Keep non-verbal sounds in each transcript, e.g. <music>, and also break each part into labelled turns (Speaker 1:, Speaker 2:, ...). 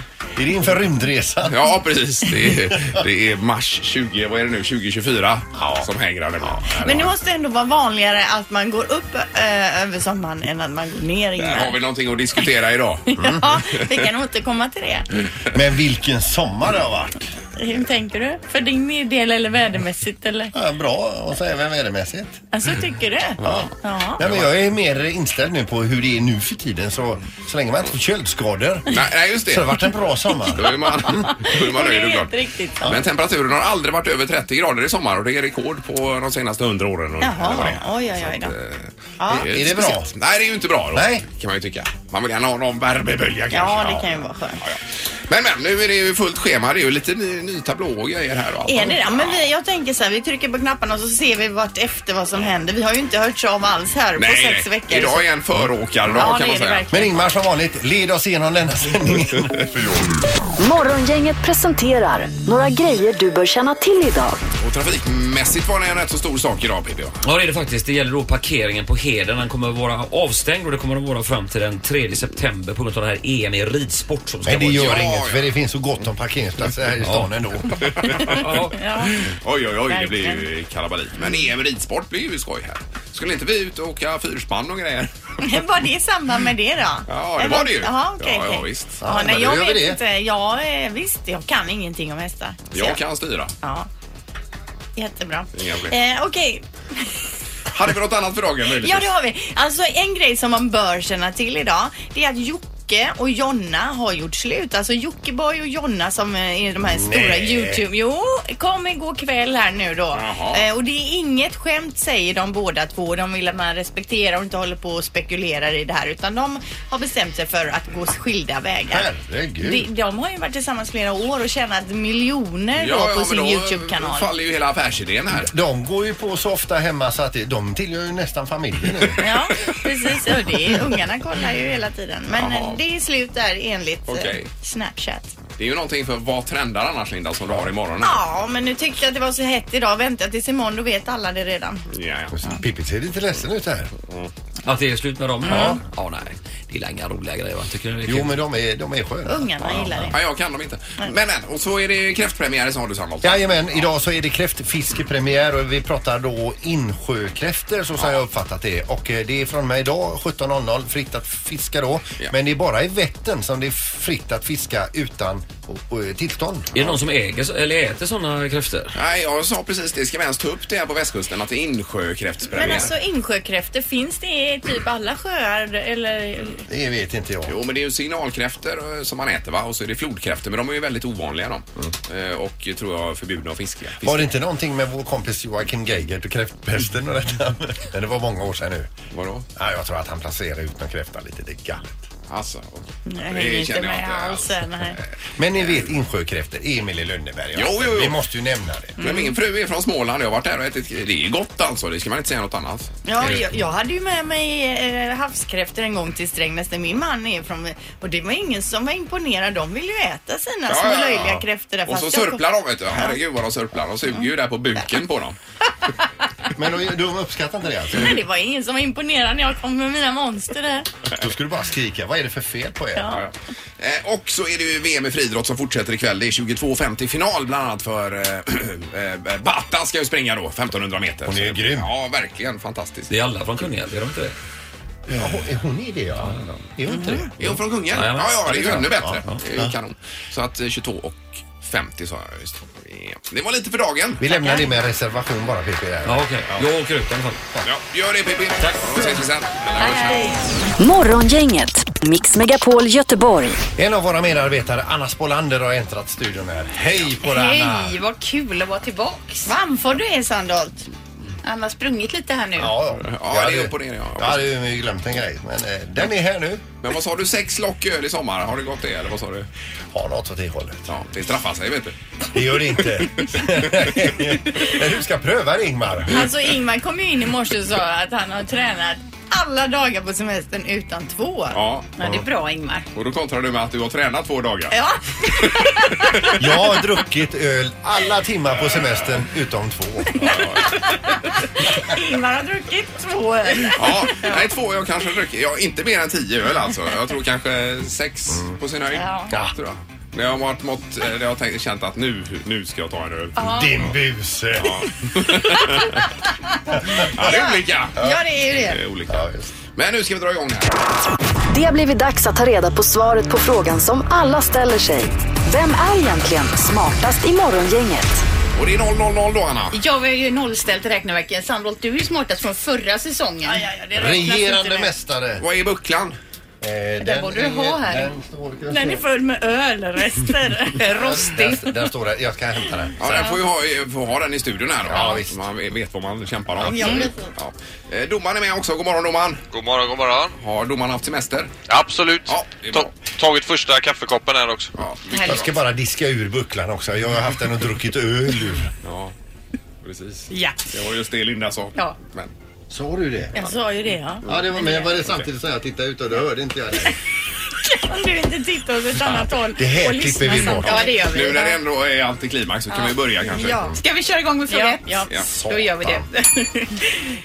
Speaker 1: Är det inför rymdresan?
Speaker 2: Ja, precis. Det är, det är mars 20, vad är det nu, 2024 som hänger där. Ja.
Speaker 3: Men det måste ändå vara vanligare att man går upp eh, över sommaren än att man går ner
Speaker 2: Där har
Speaker 3: <laughs>
Speaker 2: vi
Speaker 3: Ingmar.
Speaker 2: någonting att diskutera idag.
Speaker 3: Ja, vi kan återkomma till det.
Speaker 1: Men vilken sommar det har varit!
Speaker 3: Hur tänker du? För din del eller vädermässigt eller?
Speaker 1: Ja, bra, och så även vädermässigt.
Speaker 3: Alltså tycker du? Ja.
Speaker 1: Nej, men jag är mer inställd nu på hur det är nu för tiden så, så länge man inte får köldskador.
Speaker 2: Nej, nej,
Speaker 1: Så
Speaker 2: just
Speaker 1: det har
Speaker 2: det.
Speaker 1: varit en bra
Speaker 2: Då
Speaker 1: sommar.
Speaker 2: är man, då är man
Speaker 3: Det
Speaker 2: nöjd
Speaker 3: är
Speaker 2: och
Speaker 3: helt
Speaker 2: glad.
Speaker 3: riktigt.
Speaker 2: Men temperaturen har aldrig varit över 30 grader i sommar och det är rekord på de senaste 100 åren. Eller vad det eh,
Speaker 3: Jaha,
Speaker 2: är.
Speaker 3: oj oj oj då. Ja.
Speaker 2: ju
Speaker 1: Är det
Speaker 2: speciellt. Nej, det är ju inte bra då,
Speaker 1: Nej.
Speaker 2: kan man ju tycka. Man vill gärna ha någon värmebölja kanske.
Speaker 3: Ja, det kan ju vara skönt.
Speaker 2: Men, men nu är det ju fullt schema. Det är ju lite ny, ny tablå och grejer här. och allt.
Speaker 3: Är det det? Men vi, jag tänker så här, vi trycker på knapparna och så ser vi vart efter vad som händer. Vi har ju inte hört av alls här på
Speaker 2: Nej,
Speaker 3: sex
Speaker 2: nej.
Speaker 3: veckor. så-
Speaker 2: Idag är en föråkardag
Speaker 3: Ja, det
Speaker 2: kan man
Speaker 3: är det
Speaker 2: säga.
Speaker 3: verkligen.
Speaker 1: Men Ingmar som vanligt, led oss igenom denna sändning.
Speaker 4: Morgongänget presenterar några grejer du bör känna till idag.
Speaker 2: och trafikmässigt var det en rätt så stor sak idag, Pippi.
Speaker 5: Ja det är det faktiskt. Det gäller då parkeringen på Heden. Den kommer att vara avstängd och det kommer att vara fram till den 3 september på grund av det här EM i ridsport som ska
Speaker 1: Nej, det
Speaker 5: vara.
Speaker 1: gör
Speaker 2: <laughs> Ja,
Speaker 1: inget
Speaker 2: ja.
Speaker 1: för det finns så gott om parkeringsplatser här i stan ändå.
Speaker 5: Ja,
Speaker 2: Oj, oj, oj, det blir ju kalabalik. Men EM ridsport blir ju skoj här. Skulle inte vi ut och åka fyrspann och grejer?
Speaker 3: Var det i samband med det då?
Speaker 2: Ja, det
Speaker 3: Eller-
Speaker 2: var det ju.
Speaker 3: Jaha, okej.
Speaker 2: Ja, ja,
Speaker 3: okej.
Speaker 2: visst.
Speaker 3: Ja,
Speaker 1: Ja,
Speaker 3: nej,
Speaker 1: men
Speaker 3: jag
Speaker 1: då gör vi
Speaker 3: vet
Speaker 1: det.
Speaker 3: inte. Jag, eh, visst, jag kan ingenting om hästar. Så
Speaker 2: Jag kan styra.
Speaker 3: Ja. Jättebra.
Speaker 2: Inga problem.
Speaker 3: Eh, Okej,
Speaker 2: Hade vi något annat för dagen möjligtvis?
Speaker 3: ja det har vi. Alltså en grej som man bör känna till idag, det är att Jocke och Jonna har gjort slut. Alltså Jockiboi och Jonna som eh, är de här stora Youtube... Jo, kom igår kväll här nu då.
Speaker 2: Jaha.
Speaker 3: Eh, Och det är inget skämt säger de båda två. De vill att man respekterar och inte håller på och spekulerar i det här utan de har bestämt sig för att gå skilda vägar. De,
Speaker 1: Herregud.
Speaker 3: de har ju varit tillsammans flera år och tjänat miljoner
Speaker 2: Ja,
Speaker 3: då på
Speaker 2: ja,
Speaker 3: sin
Speaker 2: men då
Speaker 3: Youtube-kanal.
Speaker 2: faller ju hela affärsidén här.
Speaker 1: De går ju på så ofta hemma så att det- de tillhör ju nästan familjen
Speaker 2: <laughs>
Speaker 1: nu.
Speaker 3: Ja, precis. Och det är, ungarna kollar ju hela tiden. Men
Speaker 2: Jaha.
Speaker 3: eh, det är slut där enligt eh,
Speaker 2: Okej.
Speaker 3: Snapchat.
Speaker 2: Det är ju någonting för vad trendar annars Linda som du har imorgon? här.
Speaker 3: Ja, men nu tyckte jag att det var så hett idag. Vänta tills imorgon, då vet alla det redan.
Speaker 2: Ja, ja.
Speaker 1: Pippi ser lite ledsen ut här.
Speaker 5: att det är slut med dem?
Speaker 2: Mm.
Speaker 5: Ja. ja nej, det är inga roliga grejer. va? Tycker du det är
Speaker 1: Jo
Speaker 5: kul?
Speaker 1: men de är, de är sköna.
Speaker 3: Ungarna gillar det.
Speaker 2: Ja, jag kan dem inte. Men, men, och så är det kräftpremiär som har du Sandholt.
Speaker 1: Jajamän, idag så är det kräftfiskepremiär och vi pratar då insjökräftor så som jag uppfattat det. Och eh, det är från och med idag 17.00 fritt att fiska då.
Speaker 2: Ja.
Speaker 1: Men det är bara i Vättern som det är fritt att fiska utan och, och, tillstånd.
Speaker 5: Är det någon som äger så- eller äter sådana kräftor?
Speaker 2: Nej, jag sa precis det. Ska vi ens ta upp det här på västkusten att det är insjökräftpremiär?
Speaker 3: Men alltså insjökräftor, finns det i typ alla sjöar eller?
Speaker 1: Det vet inte jag.
Speaker 2: Jo, men det är ju signalkräftor eh, som man äter va? Och så är det flodkräftor, men de är ju väldigt ovanliga de. Eh, Och tror jag förbjudna att fiska. Fisk-
Speaker 1: Mm. Var det inte någonting med vår kompis Joakim Geigert och kräftpesten och
Speaker 2: <laughs>
Speaker 1: detta? Men det var många år sedan nu.
Speaker 2: Vadå?
Speaker 1: Ja, jag tror att han placerade ut någon kräfta lite. Det är galet.
Speaker 2: Alltså, och-
Speaker 3: Jag hänger inte med alls. Nej.
Speaker 1: Men ni vet insjökräftor, Emil i Lönneberga.
Speaker 2: Jo, jo, jo.
Speaker 1: Vi måste ju nämna det.
Speaker 2: Men min fru är från Småland jag har varit där och ätit. Det är gott alltså, det ska man inte säga något annat.
Speaker 3: Ja, jag, jag hade ju med mig eh, havskräftor en gång till Strängnäs där min man är från. Och det var ingen som var imponerad. De ville ju äta sina små Alltså, löjliga kräftor där.
Speaker 2: Och så
Speaker 3: fast jag kom-
Speaker 2: sörplar de vet du. Herregud vad de sörplar. De suger ju där på buken på dem.
Speaker 1: Men de, de uppskattar inte det alltså?
Speaker 3: Men det var ingen som var imponerad när jag kom med mina monster där.
Speaker 1: Då skulle du bara skrika, vad är det för fel på er?
Speaker 3: Ja.
Speaker 2: Eh, och så är det ju VM i friidrott som fortsätter ikväll. Det är 22.50 final bland annat för eh, <clears throat> eh, Batta ska ju springa då, 1500 meter.
Speaker 1: Hon är
Speaker 2: Så-
Speaker 1: grym.
Speaker 2: Ja, verkligen fantastiskt.
Speaker 5: Det är alla från Kungälv, är de inte det?
Speaker 1: Ja, hon- är hon i det ja? Är hon inte det?
Speaker 2: Är hon från Kungälv?
Speaker 5: Ja, ja.
Speaker 2: Ja, ja, det är ju ännu bättre.
Speaker 5: Ja, ja.
Speaker 2: Det är ju kanon. Så att eh, 22 och 50 sa jag just. Ja. Det var lite för dagen.
Speaker 1: Vi lämnar det med en reservation bara PP. där.
Speaker 5: Ja, okej. Jag åker ut i alla fall.
Speaker 2: Ja, gör det Pippi.
Speaker 5: Tack.
Speaker 2: Och ses vi sen.
Speaker 4: Morgongänget, Mix Megapol Göteborg.
Speaker 1: En av våra medarbetare, Anna Spolander, har äntrat studion här. Hej på dig Anna!
Speaker 6: Hej, vad kul att vara tillbaks.
Speaker 3: Framför du är Sandholt. Han har sprungit lite här nu.
Speaker 1: Ja,
Speaker 2: Ja, det är upp och ner, ja.
Speaker 1: Jag hade ju glömt en grej, men eh, den är här nu.
Speaker 2: Men vad sa du? Sex lock öl i sommar? Har det gått det eller vad sa du?
Speaker 1: Har något åt det hållet.
Speaker 2: Ja, det straffar sig vet du.
Speaker 1: Det gör det
Speaker 2: <laughs>
Speaker 1: inte. <laughs> men du ska pröva det Ingmar.
Speaker 3: Alltså Ingmar kom ju in i morse och sa att han har tränat alla dagar på semestern utan två.
Speaker 2: Ja.
Speaker 6: Ja, det är bra Ingmar.
Speaker 2: Och då kontrar du med att du har tränat två dagar.
Speaker 3: Ja,
Speaker 1: Jag har druckit öl alla timmar på semestern utom två.
Speaker 3: Ingmar har druckit två öl.
Speaker 2: Ja, nej två jag kanske druckit. Ja, inte mer än tio öl alltså. Jag tror kanske sex på sin höjd.
Speaker 3: Ja.
Speaker 2: Tror jag. När jag har varit mått, eller jag har tänkt, känt att nu, nu ska jag ta en öl.
Speaker 1: Din buse.
Speaker 2: Ja, det är olika.
Speaker 3: Ja, det är ju
Speaker 2: Det
Speaker 3: det.
Speaker 2: är olika.
Speaker 1: Ja, just.
Speaker 2: Men nu ska vi dra igång här.
Speaker 4: Det har blivit dags att ta reda på svaret på frågan som alla ställer sig. Vem är egentligen smartast i morgongänget?
Speaker 2: Och det är 000 då Anna.
Speaker 6: Jag var ju nollställt räkneverken. Sandholt, du är ju smartast från förra säsongen.
Speaker 3: Ja, ja, ja, det räknas inte
Speaker 1: Regerande
Speaker 3: med.
Speaker 1: mästare.
Speaker 2: Vad är bucklan?
Speaker 1: Eh,
Speaker 6: Den borde du ha här.
Speaker 1: Den står,
Speaker 3: Den är full med <laughs> ölrester. Rostig.
Speaker 1: där, där står det. Jag ska hämta den.
Speaker 2: Ja, den får ju ha, får ha den i studion här då.
Speaker 1: Ja, visst.
Speaker 2: Så man vet vad man kämpar om.
Speaker 3: Ja, precis.
Speaker 2: Ja. Eh, Domaren är med också. God morgon domaren.
Speaker 7: God morgon, god morgon.
Speaker 2: Har domaren haft semester?
Speaker 7: Absolut.
Speaker 2: Ja, det är
Speaker 7: Ta-
Speaker 2: bra.
Speaker 7: tagit första kaffekoppen här också.
Speaker 2: Ja,
Speaker 1: Jag ska bara diska ur bucklan också. Jag har haft den och druckit öl ur.
Speaker 2: ja precis.
Speaker 3: Ja.
Speaker 2: Det var just det Linda sa.
Speaker 3: Ja.
Speaker 2: Men,
Speaker 1: Såg du det?
Speaker 3: Jag sa ju det ja.
Speaker 1: Ja, det var med. Var det samtidigt som jag tittade ut och då hörde inte jag det.
Speaker 3: Om du inte tittar åt ett annat håll
Speaker 1: Det här
Speaker 3: och
Speaker 1: klipper
Speaker 3: lyssnar
Speaker 1: vi
Speaker 3: samtidigt.
Speaker 1: bort.
Speaker 3: Ja, det gör vi.
Speaker 2: nu när det ändå är antiklimax så kan vi börja kanske.
Speaker 3: Ja.
Speaker 6: Ska vi köra igång med fråga
Speaker 3: Ja,
Speaker 6: ett?
Speaker 3: ja.
Speaker 6: Då gör vi det. <laughs>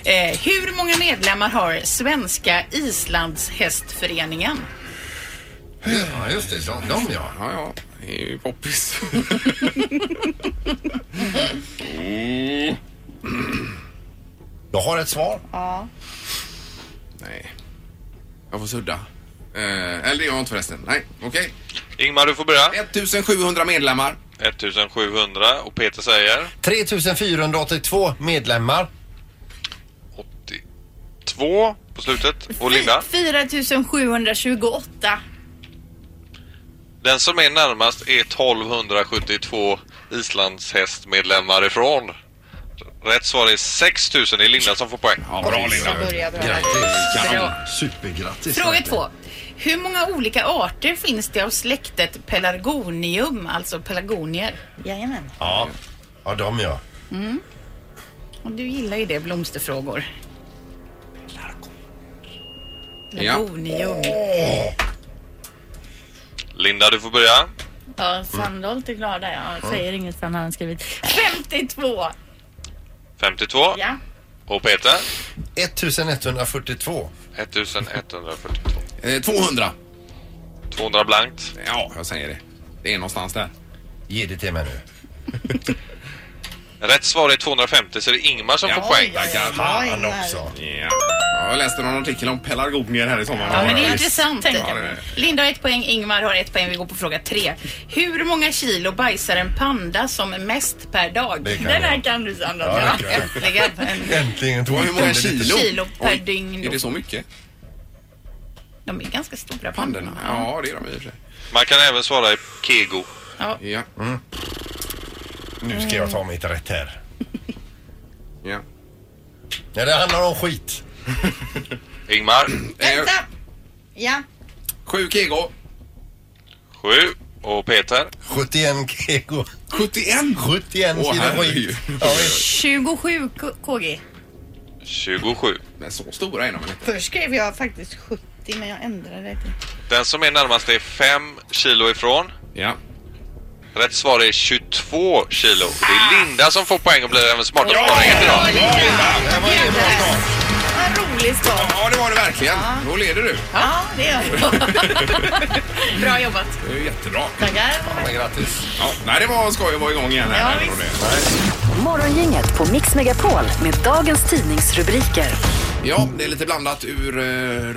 Speaker 6: eh, hur många medlemmar har Svenska Islandshästföreningen?
Speaker 1: Ja, just det. De, de ja.
Speaker 2: Ja, ja. Det är ju poppis. <laughs>
Speaker 1: Jag har ett svar.
Speaker 2: Nej. Jag får sudda. Eh, eller det gör jag inte förresten. Nej, okej.
Speaker 7: Ingmar, du får börja.
Speaker 2: 1700 medlemmar.
Speaker 7: 1700 och Peter säger
Speaker 1: 3482 medlemmar.
Speaker 7: 82 på slutet. Och Linda?
Speaker 3: 4728.
Speaker 7: Den som är närmast är 1272 islandshästmedlemmar ifrån. Rätt svar är 6000. Det är Linda som får poäng.
Speaker 2: Ja, bra Linda.
Speaker 6: Börja bra.
Speaker 1: Grattis.
Speaker 6: Bra.
Speaker 1: Supergrattis.
Speaker 6: Fråga två. Hur många olika arter finns det av släktet pelargonium, alltså pelargonier?
Speaker 3: Jajamän.
Speaker 1: Ja. ja, de ja.
Speaker 6: Och du gillar ju det, blomsterfrågor.
Speaker 2: Ja.
Speaker 3: Pelargonium.
Speaker 7: Linda, du får börja.
Speaker 3: Ja, Sandholt är glad där. Jag säger inget som han har skrivit. 52!
Speaker 7: 52.
Speaker 3: Ja.
Speaker 7: Och Peter?
Speaker 1: 1142.
Speaker 7: 1142.
Speaker 2: Eh, 200.
Speaker 7: 200 blankt.
Speaker 2: Ja, jag säger det. Det är någonstans där.
Speaker 1: Ge det till mig nu.
Speaker 7: Rätt svar är 250 så det är Ingmar som får poäng.
Speaker 2: Tackar.
Speaker 1: Fan också.
Speaker 2: Ja. Ja, Jag läste någon artikel om pelargonier här i sommar.
Speaker 6: Ja, men det är
Speaker 2: Ja,
Speaker 6: intressant.
Speaker 3: Tänk
Speaker 2: Ja, det är det.
Speaker 6: Linda har ett poäng, Ingmar har ett poäng. Vi går på fråga tre. Hur många kilo bajsar en panda som mest per dag?
Speaker 1: Det kan
Speaker 3: Den
Speaker 1: jag.
Speaker 3: här kan du Sandholt.
Speaker 1: Ja,
Speaker 3: Ja,
Speaker 1: det kan jag.
Speaker 6: Äntligen! En-
Speaker 1: Äntligen tog
Speaker 2: Och hur många
Speaker 1: jag det lite.
Speaker 2: kilo?
Speaker 6: Kilo per
Speaker 2: Oj,
Speaker 6: dygn.
Speaker 2: Är det så mycket?
Speaker 6: De är ganska stora
Speaker 2: Pandorna?
Speaker 6: pandorna.
Speaker 2: Ja, det är de i och för sig.
Speaker 7: Man kan även svara i kego.
Speaker 2: Ja.
Speaker 1: Nu ska jag ta mitt rätt här.
Speaker 2: ja.
Speaker 1: Ja, det handlar om skit.
Speaker 7: Ingmar,
Speaker 2: Eh,
Speaker 3: Vänta! Ja.
Speaker 2: sju kego.
Speaker 7: 7. Och Peter,
Speaker 1: 71 kg.
Speaker 2: 71.
Speaker 1: 71
Speaker 2: Åh,
Speaker 1: kilo
Speaker 2: herregud.
Speaker 1: skit. Ja, visst.
Speaker 3: 27 k- KG.
Speaker 7: 27.
Speaker 2: Men så stora är de väl inte?
Speaker 3: Först skrev jag faktiskt 70 men jag ändrade det till...
Speaker 7: Den som är närmast är 5 kilo ifrån.
Speaker 2: Ja.
Speaker 7: Rätt svar är 22 kilo. Det är Linda som får poäng och blir även smartast på morgonen idag.
Speaker 1: Ja,
Speaker 2: är bra idag.
Speaker 3: Vad rolig start.
Speaker 2: Ja, det var det verkligen. Då leder du.
Speaker 3: Ja, det gör
Speaker 6: <laughs>
Speaker 3: jag. Bra jobbat.
Speaker 2: Det är ju jättebra.
Speaker 3: Tackar.
Speaker 1: Men grattis.
Speaker 2: Ja, nej, det var skoj att vara igång igen här.
Speaker 3: Ja,
Speaker 2: även om det-
Speaker 4: Morgongänget på Mix Megapol med dagens tidningsrubriker.
Speaker 2: Ja, det är lite blandat ur eh,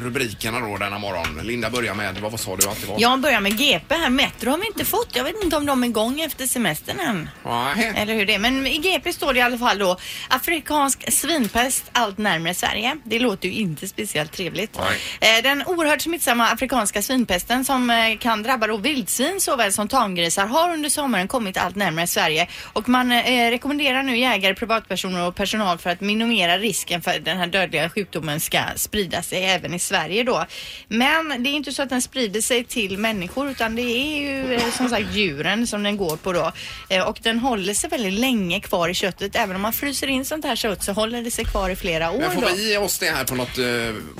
Speaker 2: rubrikerna då denna morgon. Linda börjar med, vad vad sa du att det var?
Speaker 3: Jag börjar med GP här. Metro har vi inte fått. Jag vet inte om de är igång efter semestern än.
Speaker 2: Nej.
Speaker 3: Eller hur det är. Men i GP står det i alla fall då afrikansk svinpest allt närmare Sverige. Det låter ju inte speciellt trevligt. Eh, Den oerhört smittsamma afrikanska svinpesten som eh, kan drabba då vildsvin såväl som tamgrisar har under sommaren kommit allt närmare Sverige och man eh, rekommenderar nu jägare, privatpersoner och personal för att minimera risken för att den här dödliga sjukdomen ska sprida sig även i Sverige då. Men det är inte så att den sprider sig till människor utan det är ju eh, som sagt djuren som den går på då Eh, och den håller sig väldigt länge kvar i köttet. Även om man fryser in sånt här kött så håller det sig kvar i flera år
Speaker 2: Men får
Speaker 3: då.
Speaker 2: vi ge oss det här på något... eh,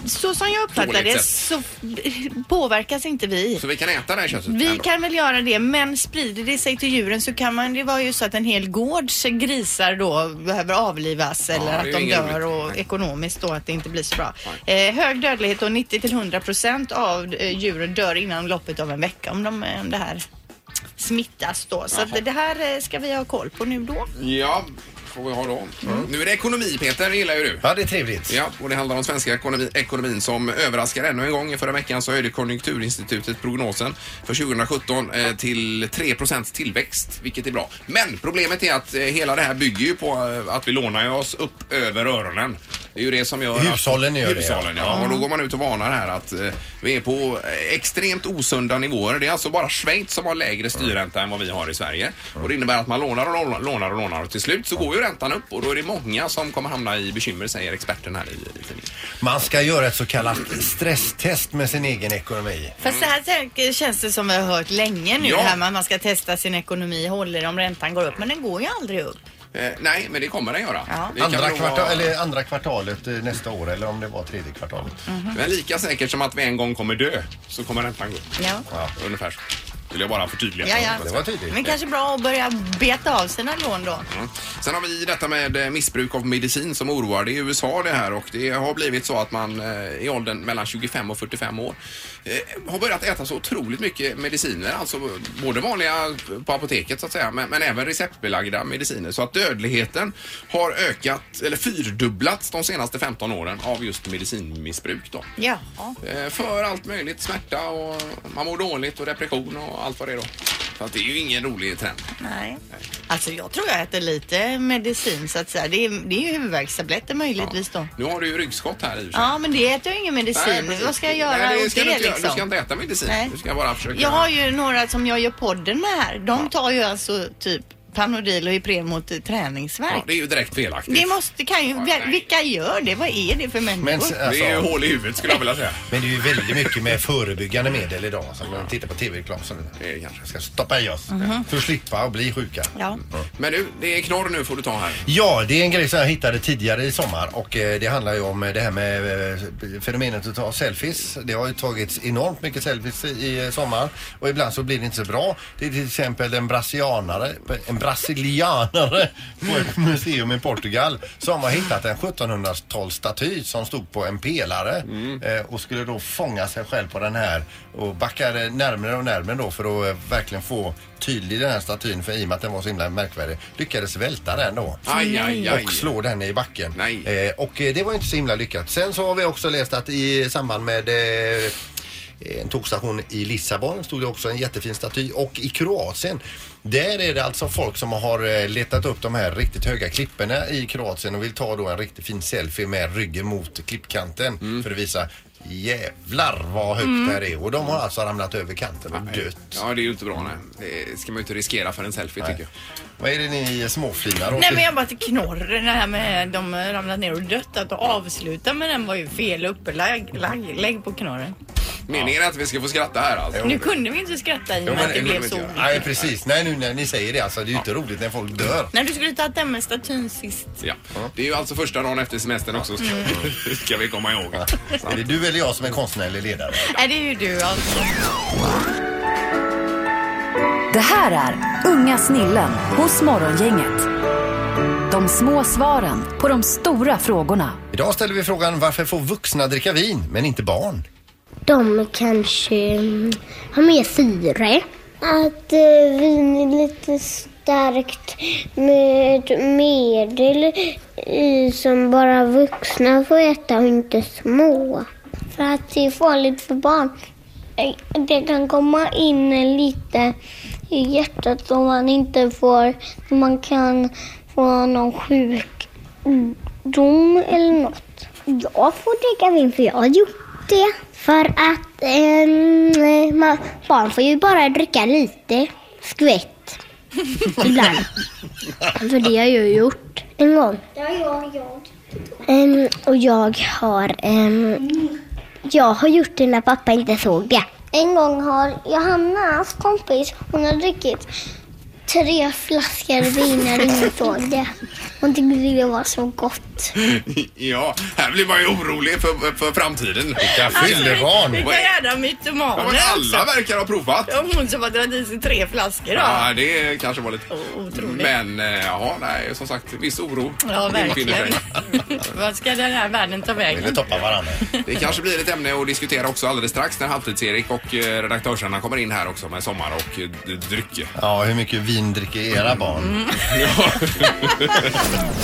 Speaker 3: Så som jag uppfattar
Speaker 2: Dåligt
Speaker 3: det
Speaker 2: sätt.
Speaker 3: så f- påverkas inte vi.
Speaker 2: Så vi kan äta det här köttet?
Speaker 3: Vi
Speaker 2: ändå?
Speaker 3: kan väl göra det, men sprider det sig till djuren så kan man, det var ju så att en hel gårds grisar då behöver avlivas
Speaker 2: det
Speaker 3: eller
Speaker 2: är
Speaker 3: att
Speaker 2: ju
Speaker 3: de
Speaker 2: inget
Speaker 3: dör
Speaker 2: roligt.
Speaker 3: och ekonomiskt då att det inte blir så bra. Eh, hög dödlighet och 90 till 100 procent av eh, djuren dör innan loppet av en vecka om, de, eh, om det här smittas då. Så att det här eh, ska vi ha koll på nu då.
Speaker 2: Ja, får vi ha då. Nu är det ekonomi Peter, det gillar ju du.
Speaker 1: Ja, det är trevligt.
Speaker 2: Ja, och det handlar om svenska ekonomi, ekonomin som överraskar ännu en gång. I förra veckan så höjde Konjunkturinstitutet prognosen för 2017 eh, till 3 tillväxt, vilket är bra. Men problemet är att eh, hela det här bygger ju på eh, att vi lånar ju oss upp över öronen. Det är ju det som gör att-
Speaker 1: Hushållen gör det, ja.
Speaker 2: alltså, Hushållen, ja. Och då går man ut och varnar här att eh, vi är på eh, extremt osunda nivåer. Det är alltså bara Schweiz som har lägre styrränta än vad vi har i Sverige. Och det innebär att man lånar och lånar- lånar och lånar och till slut så går ju räntan upp och då är det många som kommer hamna i bekymmer säger experten här i i tidningen.
Speaker 1: Man ska göra ett så kallat stresstest med sin egen ekonomi.
Speaker 3: Fast det här tänk- känns det som vi har hört länge nu
Speaker 2: Mm. Ja.
Speaker 3: det här med att man ska testa sin ekonomi, håller om räntan går upp, men den går ju aldrig upp.
Speaker 2: Eh, nej, men det kommer den göra.
Speaker 3: Ja.
Speaker 2: Det kan
Speaker 1: Andra,
Speaker 2: nog
Speaker 1: kvartal,
Speaker 2: vara-
Speaker 1: eller andra kvartalet eh, nästa år eller om det var tredje kvartalet.
Speaker 2: Men lika säkert som att vi en gång kommer dö så kommer räntan gå upp.
Speaker 3: Ja.
Speaker 2: Ja. Ungefär så. Vill jag bara förtydliga.
Speaker 3: Ja, ja.
Speaker 1: Det var tydligt.
Speaker 3: Men kanske bra att börja beta av sina lån då.
Speaker 2: Mm. Sen har vi detta med eh, missbruk av medicin som oroar. Det är i USA det här och det har blivit så att man eh, i åldern mellan 25 och 45 år eh, har börjat äta så otroligt mycket mediciner. Alltså både vanliga på apoteket så att säga men, men även receptbelagda mediciner. Så att dödligheten har ökat eller fyrdubblats de senaste 15 åren av just medicinmissbruk. Då.
Speaker 3: Ja.
Speaker 2: Eh, För allt möjligt, smärta och man mår dåligt och depression och allt vad det är då. Så att det är ju ingen rolig trend.
Speaker 3: Nej. Alltså jag tror jag äter lite medicin så att säga. Det är, det är ju huvudvärkstabletter möjligtvis då.
Speaker 2: Nu har du ju ryggskott här i och för sig.
Speaker 3: Ja men det äter jag ingen medicin.
Speaker 2: precis.
Speaker 3: Vad ska jag göra
Speaker 2: Nej, det
Speaker 3: åt
Speaker 2: ska
Speaker 3: det
Speaker 2: du, inte göra.
Speaker 3: liksom?
Speaker 2: du ska inte äta medicin.
Speaker 3: Nej.
Speaker 2: Du ska bara försöka.
Speaker 3: Jag har ju några som jag gör podden med här. De tar ju alltså typ Panodil och Ipren mot eh,
Speaker 2: ja,
Speaker 3: träningsvärk.
Speaker 2: det är ju direkt felaktigt.
Speaker 3: Det måste, kan ju,
Speaker 2: nej.
Speaker 3: vilka gör det? Vad är det för människor?
Speaker 1: Men, s-
Speaker 2: Det är ju
Speaker 1: alltså,
Speaker 2: hål i huvudet skulle jag
Speaker 3: <laughs>
Speaker 2: vilja säga.
Speaker 1: men det är ju väldigt mycket med förebyggande medel idag. Som man tittar på tv-reklam. så
Speaker 2: Det är kanske.
Speaker 1: Ska stoppa i oss för att slippa att bli sjuka.
Speaker 3: Ja.
Speaker 2: Men du, det är knorr nu får du ta här.
Speaker 1: Ja, det är en grej som jag hittade tidigare i sommar och eh, det handlar ju om eh, det här med eh, fenomenet att ta selfies. Det har ju tagits enormt mycket selfies i- i eh, sommar och ibland så blir det inte så bra. Det är till exempel en brasilianare, en brasilianare på ett <laughs> museum i Portugal som har hittat en 1700-talsstaty som stod på en pelare eh, och skulle då fånga sig själv på den här och backade närmare och närmare då för att eh, verkligen få tydlig den här statyn för i och med att den var så himla märkvärdig lyckades välta den då
Speaker 2: Aj, aj, aj.
Speaker 1: och slår den i backen.
Speaker 2: Nej.
Speaker 1: Eh, och eh, det var inte så himla lyckat. Sen så har vi också läst att i samband med eh, en tågstation i Lissabon stod det också en jättefin staty och i Kroatien där är det alltså folk som har eh, letat upp de här riktigt höga klipporna i Kroatien och vill ta då en riktigt fin selfie med ryggen mot klippkanten
Speaker 2: Mm.
Speaker 1: för att visa jävlar vad högt
Speaker 3: Mm.
Speaker 1: det här är och de har alltså ramlat över kanten och dött.
Speaker 2: Ja, det är ju inte bra nej. Det ska man ju inte riskera för en selfie tycker jag.
Speaker 1: Vad är det ni småflinar åt?
Speaker 3: Nej men jag bara till knorr det här med de ramlat ner och dött. Att avsluta med den var ju fel upplagd. Lägg, lägg på knorren.
Speaker 2: Meningen är att vi ska få skratta här alltså.
Speaker 3: Nu kunde vi inte skratta i och
Speaker 1: Jo,
Speaker 3: med
Speaker 1: men
Speaker 3: att det
Speaker 1: det
Speaker 3: blev
Speaker 2: kunde
Speaker 3: så
Speaker 2: vi inte
Speaker 3: olyckligt.
Speaker 1: Nej precis, nej nu när ni säger det alltså det är ju inte roligt när folk dör.
Speaker 3: När du skulle ta den med statyn sist.
Speaker 2: Ja. Det är ju alltså första dagen efter semestern också. Ska,
Speaker 3: Mm.
Speaker 2: <laughs> ska vi komma ihåg.
Speaker 1: Är det du eller jag som är konstnärlig ledare?
Speaker 3: Nej det är ju du alltså.
Speaker 4: Det här är Unga snillen hos Morgongänget. De små svaren på de stora frågorna.
Speaker 1: Idag ställer vi frågan varför får vuxna dricka vin men inte barn?
Speaker 8: De kanske mm, har mer syre. Att eh, vin är lite starkt med medel i som bara vuxna får äta och inte små. För att det är farligt för barn. Eh, Det kan komma in lite i hjärtat som man inte får, man kan få någon sjukdom eller något. Jag får dricka vin för jag har gjort det. För att eh, man, barn får ju bara dricka lite
Speaker 9: <laughs>
Speaker 8: skvätt ibland. För det har jag gjort en gång.
Speaker 9: Det har jag gjort.
Speaker 8: Ehm, och jag har... ehm, jag har gjort det när pappa inte såg det.
Speaker 9: En gång har Johannas kompis, hon har druckit tre flaskor vin när ingen såg det.
Speaker 8: Hon tyckte det var så gott.
Speaker 2: ja, här blir man ju orolig för, för framtiden. Vilka
Speaker 3: Vilka jädra mytomaner alltså.
Speaker 2: Ja, men alla verkar ha provat.
Speaker 3: Ja, hon som har dragit i sig tre flaskor då.
Speaker 2: Ja, det kanske var lite... Men eh, ja, nej, som sagt, viss oro
Speaker 3: Ja,
Speaker 2: infinner sig.
Speaker 3: verkligen. <laughs> Vad ska den här världen ta vägen?
Speaker 1: toppa varandra.
Speaker 2: Det kanske blir ett ämne att diskutera också alldeles strax när Halvtids-Erik och eh, redaktörsarna kommer in här också med sommar och eh, d- drycker.
Speaker 1: Ja, hur mycket vin dricker era barn?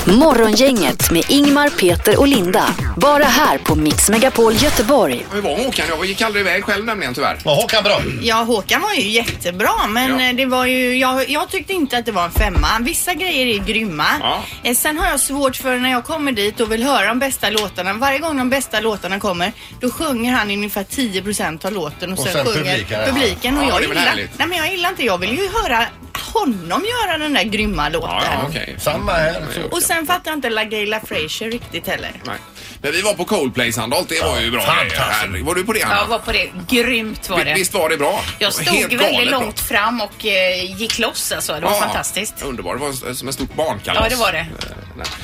Speaker 4: Morgongänget med Ingmar, Peter och Linda. Bara här på Mix Megapol Göteborg.
Speaker 2: Hur var Håkan? Jag gick aldrig iväg själv nämligen tyvärr.
Speaker 1: Var Håkan bra?
Speaker 3: Ja, Håkan var ju jättebra men eh, det var ju, jag, jag tyckte inte att det var en femma. Vissa grejer är grymma. Eh, Sen har jag svårt för när jag kommer dit och vill höra de bästa låtarna. Varje gång de bästa låtarna kommer då sjunger han ungefär 10% av låten och
Speaker 1: Och
Speaker 3: sen,
Speaker 1: sen
Speaker 3: sjunger
Speaker 1: publiken,
Speaker 3: publiken.
Speaker 1: ja.
Speaker 3: och
Speaker 1: Ja,
Speaker 3: jag,
Speaker 1: det är väl
Speaker 3: gillar,
Speaker 1: härligt.
Speaker 3: nej, men jag gillar inte, jag vill ju höra honom göra den där grymma låten.
Speaker 1: Samma här.
Speaker 3: Och sen fattar jag inte LaGaylia Frazier riktigt heller.
Speaker 2: Nej. Men vi var på Coldplay Sandholt, det var ju bra grejer. Här- Var du på det
Speaker 6: Jag
Speaker 2: Anna?
Speaker 6: var på det. Grymt var det.
Speaker 2: Visst var det bra?
Speaker 6: Jag stod
Speaker 2: Helt
Speaker 6: väldigt
Speaker 2: galet bra.
Speaker 6: långt fram och eh, gick loss alltså. Det var
Speaker 2: Ja,
Speaker 6: fantastiskt.
Speaker 2: Underbart, det var som ett stort barnkalas. Eh,
Speaker 6: Ja, det var det.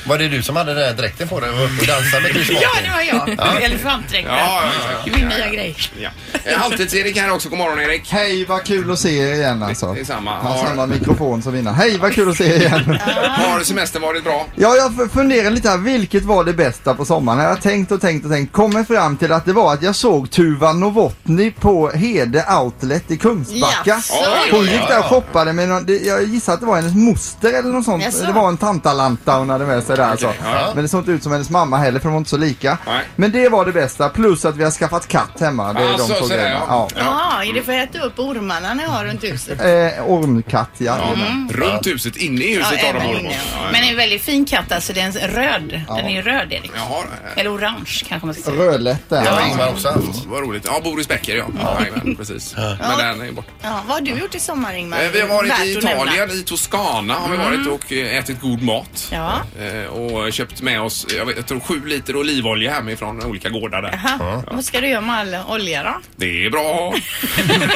Speaker 1: Var det du som hade den där dräkten på dig och var uppe och dansade med Chris
Speaker 6: Ja,
Speaker 1: Martin?
Speaker 6: det var jag.
Speaker 1: Ja.
Speaker 6: Elefantdräkten.
Speaker 1: Ja, ja, ja, ja.
Speaker 6: Det är min nya grej.
Speaker 2: Ja. Eh, Halvtids-Erik här också, god morgon Erik.
Speaker 10: Hej, vad kul att se er igen alltså.
Speaker 2: Det är samma.
Speaker 10: Har
Speaker 2: Har-
Speaker 10: samma mikrofon som innan. Hej, vad kul att se er igen.
Speaker 2: Har semestern varit bra?
Speaker 10: Ja, jag f- funderar lite här, vilket var det bästa på sommaren? Jag har tänkt och tänkt och tänkt, kommer fram till att det var att jag såg Tuva Novotny på Hede Outlet i Kungsbacka.
Speaker 11: Jaså? Oj,
Speaker 10: Hon
Speaker 11: oj,
Speaker 10: gick
Speaker 11: oj.
Speaker 10: där och shoppade med någon, det, jag gissar att det var hennes moster eller något sånt.
Speaker 11: Jaså?
Speaker 10: Det var en tantalanta hon hade med sig där alltså.
Speaker 11: ja.
Speaker 10: Men det såg inte ut som hennes mamma heller för de var inte så lika.
Speaker 11: Nej.
Speaker 10: Men det var det bästa, plus att vi har skaffat katt hemma. Det är
Speaker 11: Alltså,
Speaker 10: de två
Speaker 11: så är det,
Speaker 10: grejerna.
Speaker 11: ja.
Speaker 10: Ja.
Speaker 3: Jaha, är det för att äta upp ormarna ni har runt huset?
Speaker 10: Eh, ormkatt, ja.
Speaker 3: Mm.
Speaker 2: Runt huset, inne i huset
Speaker 6: Ja,
Speaker 2: har de
Speaker 6: även
Speaker 2: hållit på.
Speaker 6: inne.
Speaker 2: Ja,
Speaker 6: Men en väldigt fin katt alltså. Den är röd. Den är ju röd Erik.
Speaker 2: Jaha.
Speaker 6: Eller orange kanske man ska säga.
Speaker 10: Rödlätt där.
Speaker 2: Det har
Speaker 6: Ja.
Speaker 2: Ingmar också haft. Vad roligt. Ja, Boris Becker ja. Jajamän, precis. Men den är ju borta.
Speaker 3: Ja, vad har du gjort i sommar Ingmar?
Speaker 2: Eh, Vi har varit i
Speaker 3: Värt att nämna.
Speaker 2: Italien, i Toscana har vi
Speaker 3: Mm.
Speaker 2: varit och eh, ätit god mat.
Speaker 3: Ja.
Speaker 2: Eh, Och köpt med oss, jag, vet, jag tror sju liter olivolja hemifrån olika gårdar där.
Speaker 3: Jaha.
Speaker 2: Ja.
Speaker 3: Vad ska du göra med all olja då?
Speaker 2: Det är bra.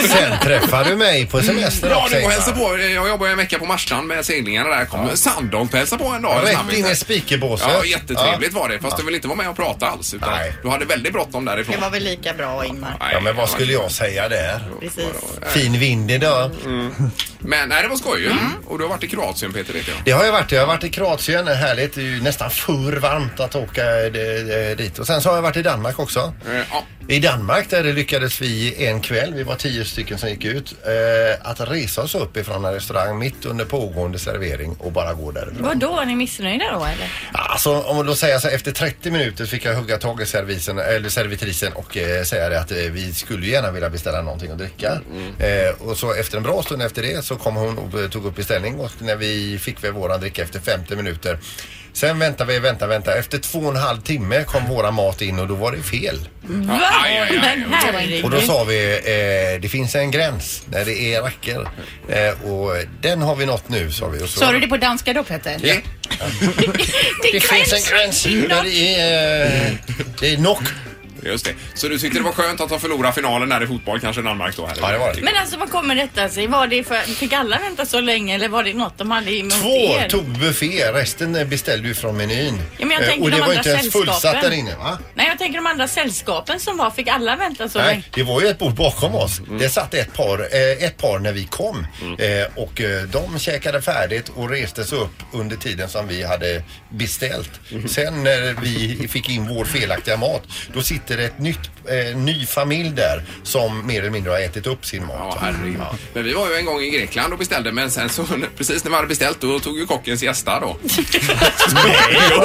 Speaker 1: Sen träffar du mig på semester
Speaker 2: Ja,
Speaker 1: också,
Speaker 2: du får
Speaker 1: Ingmar.
Speaker 2: hälsa på. Eh, Jag jobbar ju en vecka på Marstrand med seglingarna där. Kom Sandholt och hälsa på en dag.
Speaker 1: Rätt
Speaker 2: Snabbis
Speaker 1: in i
Speaker 2: där.
Speaker 1: speakerbåset.
Speaker 2: Ja, jättetrevligt var det. Fast du vill inte vara med och prata alls. Utan Du hade väldigt bråttom därifrån.
Speaker 3: Det var väl lika bra Ingmar?
Speaker 1: Ja, men vad skulle jag säga där?
Speaker 3: Precis.
Speaker 1: Fin vind idag.
Speaker 2: Men nej, det var skoj ju.
Speaker 1: Mm.
Speaker 2: Och du har varit i Kroatien Peter vet jag.
Speaker 1: Det har jag varit. Jag har varit i Kroatien. Det är Härligt. Det är ju nästan för varmt att åka eh, det- eh, dit. Och sen så har jag varit i Danmark också.
Speaker 2: Eh,
Speaker 1: I Danmark där det lyckades vi en kväll, vi var tio stycken som gick ut, eh, att resa oss upp ifrån en restaurang mitt under pågående servering och bara gå därifrån.
Speaker 6: Vadå, var ni missnöjda då eller?
Speaker 1: Alltså om man då säger så här, efter 30 minuter fick jag hugga tag i servisen, eller servitrisen och eh, säga det att eh, vi skulle ju gärna vilja beställa någonting att dricka.
Speaker 6: Mm.
Speaker 1: Eh, och så efter en bra stund efter det så kom hon och eh, tog upp beställning och när vi fick väl våran dricka efter 50 minuter. Sen väntade vi, väntade, väntade. Efter två och en halv timme kom våran mat in och då var det fel.
Speaker 6: Va?
Speaker 1: aj, aj, aj.
Speaker 6: Men herregud.
Speaker 1: Och då sa vi, eh, det finns en gräns när det är racker. Eh, och den har vi nått nu sa vi. Och
Speaker 6: Sa du det på danska då Peter?
Speaker 1: Ja.
Speaker 6: Det,
Speaker 1: finns en gräns. Där det är, eh, det är knock.
Speaker 2: Just det. Så du tyckte det var skönt att ha förlorat finalen där i fotboll kanske Danmark då? Eller? Ja, det var
Speaker 3: Men alltså vad kommer detta sig? Var det för, fick alla vänta så länge eller var det något de hade emot
Speaker 1: Två
Speaker 3: er?
Speaker 1: tog buffé, resten eh, beställde ju från menyn.
Speaker 3: Ja, men jag
Speaker 1: Eh,
Speaker 3: tänker
Speaker 1: och det
Speaker 3: de
Speaker 1: var
Speaker 3: andra
Speaker 1: inte ens fullsatt
Speaker 3: sällskapen.
Speaker 1: där inne va?
Speaker 3: Nej jag tänker de andra sällskapen som var, fick alla vänta så länge?
Speaker 1: Nej, det var ju ett bord bakom oss.
Speaker 3: Mm.
Speaker 1: Det satt ett par, eh, ett par när vi kom eh, och eh, de käkade färdigt och reste sig upp under tiden som vi hade beställt.
Speaker 3: Mm.
Speaker 1: Sen när vi fick in vår felaktiga mat, då sitter det ett nytt, eh, ny familj där som mer eller mindre har ätit upp sin mat.
Speaker 2: Ja, herregud. Men vi var ju en gång i Grekland och beställde men sen så <laughs> precis när vi hade beställt då tog ju kocken
Speaker 1: <laughs>
Speaker 2: siesta då. Nej, <laughs> jo.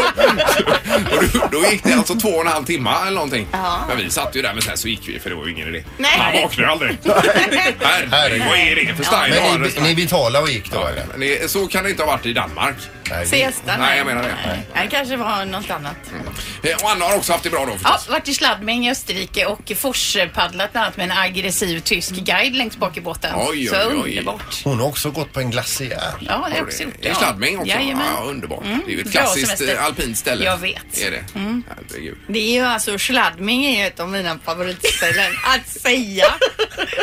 Speaker 2: och då, då gick det alltså två och en halv timme eller någonting.
Speaker 3: Ja.
Speaker 2: Men vi satt ju där men sen så gick vi för det var ju ingen idé.
Speaker 3: Nej.
Speaker 2: Han vaknade ju aldrig.
Speaker 3: <laughs>
Speaker 2: Herregud, vad är det för style
Speaker 1: Men
Speaker 2: att ha en
Speaker 1: ni,
Speaker 2: restaurang?
Speaker 1: ni betalade och gick då eller?
Speaker 2: Men det- Så kan det inte ha varit i Danmark. Nej,
Speaker 3: Siesta?
Speaker 2: Nej, jag menar det.
Speaker 3: Nej, det kanske var något annat.
Speaker 2: Eh, Och Anna har också haft det bra då
Speaker 3: Ja,
Speaker 2: förstås.
Speaker 3: varit i Schladming i Österrike och forspaddlat bland annat med en aggressiv tysk guide längst bak i båten. så underbart.
Speaker 1: Hon har också gått på en glaciär.
Speaker 3: Ja, det har jag också gjort.
Speaker 2: I
Speaker 3: ja.
Speaker 2: Schladming också.
Speaker 3: Jajamän.
Speaker 2: Ja, underbart.
Speaker 3: Mm.
Speaker 2: Det är ju ett
Speaker 3: Bra
Speaker 2: klassiskt
Speaker 3: semester.
Speaker 2: eh, alpint ställe.
Speaker 3: Jag vet.
Speaker 2: Är det?
Speaker 3: Mm.
Speaker 2: Herregud.
Speaker 3: Det är ju alltså, Schladming är ju ett av mina favoritställen att säga.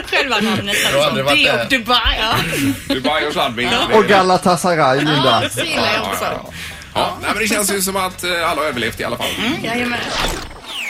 Speaker 3: Själva namnet.
Speaker 2: Jag har aldrig varit
Speaker 3: det
Speaker 2: där.
Speaker 3: och Dubai. Ja.
Speaker 2: Dubai och Schladming.
Speaker 10: Och Galatasaray, Linda.
Speaker 3: det gillar jag också.
Speaker 2: Ja, ja. Nej, men det känns ju som att eh, alla har överlevt i alla fall.
Speaker 3: Jajamän.